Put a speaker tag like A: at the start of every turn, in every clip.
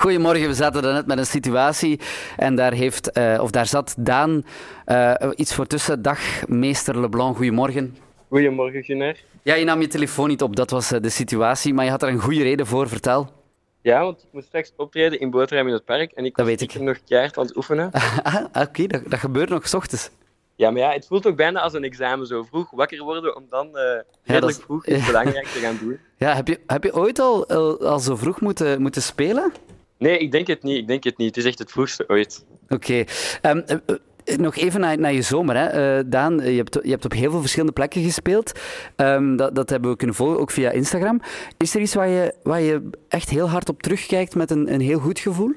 A: Goedemorgen, we zaten daarnet met een situatie en daar, heeft, eh, of daar zat Daan eh, iets voor tussen. Dag, meester Leblanc, goedemorgen.
B: Goedemorgen, Guner.
A: Ja, je nam je telefoon niet op, dat was eh, de situatie, maar je had er een goede reden voor, vertel.
B: Ja, want ik moet straks optreden in Boterham in het Park en ik
A: Dat
B: was
A: weet ik.
B: stiekem nog keihard aan het oefenen.
A: Ah, Oké, dat, dat gebeurt nog 's ochtends.
B: Ja, maar ja, het voelt ook bijna als een examen zo vroeg. Wakker worden om dan eh redelijk
A: is-
B: vroeg iets
A: ja.
B: belangrijks te gaan doen.
A: Ja, heb je, heb je ooit al, al, al zo vroeg moeten, moeten spelen?
B: Nee, ik denk het niet. Ik denk het niet. Het is echt het vroegste ooit.
A: Oké. Ehm, eh, eh, nog even naar, naar je zomer, hè. Eh, Daan. eh, Je hebt, je hebt op heel veel verschillende plekken gespeeld. Ehm, dat, dat hebben we kunnen volgen, ook via Instagram. Is er iets waar je, waar je echt heel hard op terugkijkt met een, een heel goed gevoel?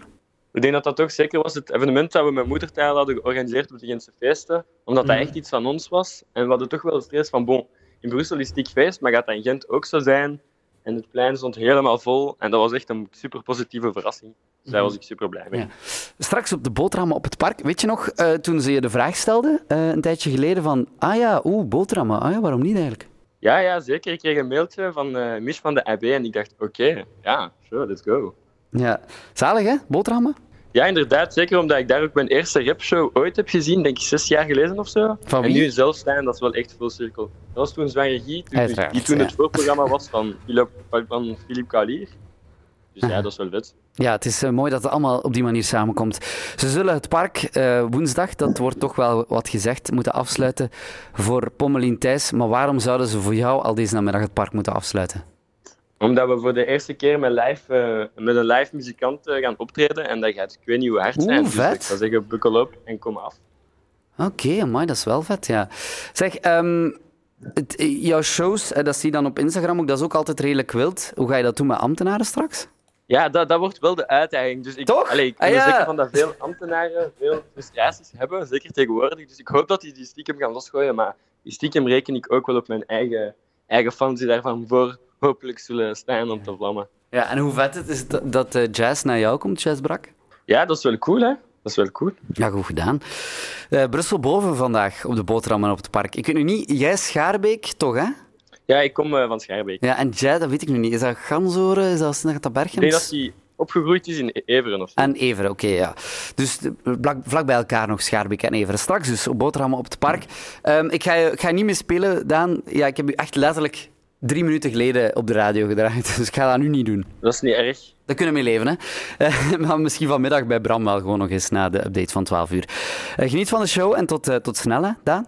B: Ik denk dat dat toch zeker was het evenement dat we met moedertaal hadden georganiseerd op de Gentse feesten, omdat dat
A: Mhm.
B: echt iets van ons was. En we hadden toch wel de stress van, bon, in Brussel is het dik feest, maar gaat dat in Gent ook zo zijn? En het plein stond helemaal vol en dat was echt een super positieve verrassing. Dus daar
A: Mhm.
B: was ik super blij mee.
A: Ja. Straks op de boterhammen op het park. Weet je nog, eh, toen ze je de vraag stelden, eh, een tijdje geleden, van... Ah ja, oeh, boterhammen. Ah ja, waarom niet eigenlijk?
B: Ja, ja, zeker. Ik kreeg een mailtje van eh Mich van de AB en ik dacht, oké, ja, sure, let's go.
A: Ja. Zalig, hè? Boterhammen?
B: Ja, inderdaad, zeker omdat ik daar ook mijn eerste rapshow ooit heb gezien, denk ik zes jaar geleden of zo.
A: Van
B: En
A: wie?
B: nu zelf staan, dat is wel echt full cirkel. Dat was toen Zwangere Guy, toen,
A: Uiteraard,
B: die toen
A: ja.
B: het voorprogramma was van Philip, van Philip Kalier. Dus ja, dat is wel vet.
A: Ja, het is eh, mooi dat het allemaal op die manier samenkomt. Ze zullen het park eh, woensdag, dat wordt toch wel wat gezegd, moeten afsluiten voor Pommelien Thijs. Maar waarom zouden ze voor jou al deze namiddag het park moeten afsluiten?
B: Omdat we voor de eerste keer met, live, eh, met een live muzikant eh, gaan optreden en dat gaat ik weet niet hoe hard
A: Oeh,
B: zijn. Dus
A: vet.
B: ik zou zeggen, bukkel op en kom af.
A: Oké, maar dat is wel vet, ja. Zeg, ehm, het- eh, jouw shows, eh, dat zie je dan op Instagram ook, dat is ook altijd redelijk wild. Hoe ga je dat doen met ambtenaren straks?
B: Ja, dat, dat wordt wel de uitdaging. Dus ik,
A: Toch?
B: Allee, ik ben
A: Ah,
B: er
A: ja.
B: zeker van dat veel ambtenaren veel frustraties hebben, zeker tegenwoordig. Dus ik hoop dat die die stiekem gaan losgooien. Maar die stiekem reken ik ook wel op mijn eigen, eigen fans die daarvan voor hopelijk zullen staan om te vlammen.
A: Ja, en hoe vet het is dat, dat eh, Jazz naar jou komt, Jazz Brak?
B: Ja, dat is wel cool, hè? Dat is wel cool.
A: Ja, goed gedaan. Eh, Brussel boven vandaag op de boterhammen op het park. Ik weet nu niet, jij Schaarbeek toch, hè?
B: Ja, ik kom eh, van Schaarbeek.
A: Ja, en Jai, dat weet ik nu niet. Is dat Gansoren? Is dat Sint
B: Ik denk dat
A: Berchems?
B: hij opgegroeid is in E- Everen of zo.
A: En Everen, oké, ja. Dus eh, vlak, vlak bij elkaar nog Schaarbeek en Everen. Straks dus, op boterhammen op het park. Ehm, ik, ga, je- ik ga je niet meer spelen, Daan. Ja, ik heb je echt letterlijk drie minuten geleden op de radio gedraaid. Dus ik ga dat nu niet doen.
B: Dat is niet erg.
A: Daar kunnen we mee leven, hè. Eh, maar misschien vanmiddag bij Bram wel gewoon nog eens na de update van 12 uur. Eh, geniet van de show en tot, eh, tot snel, hè, Daan.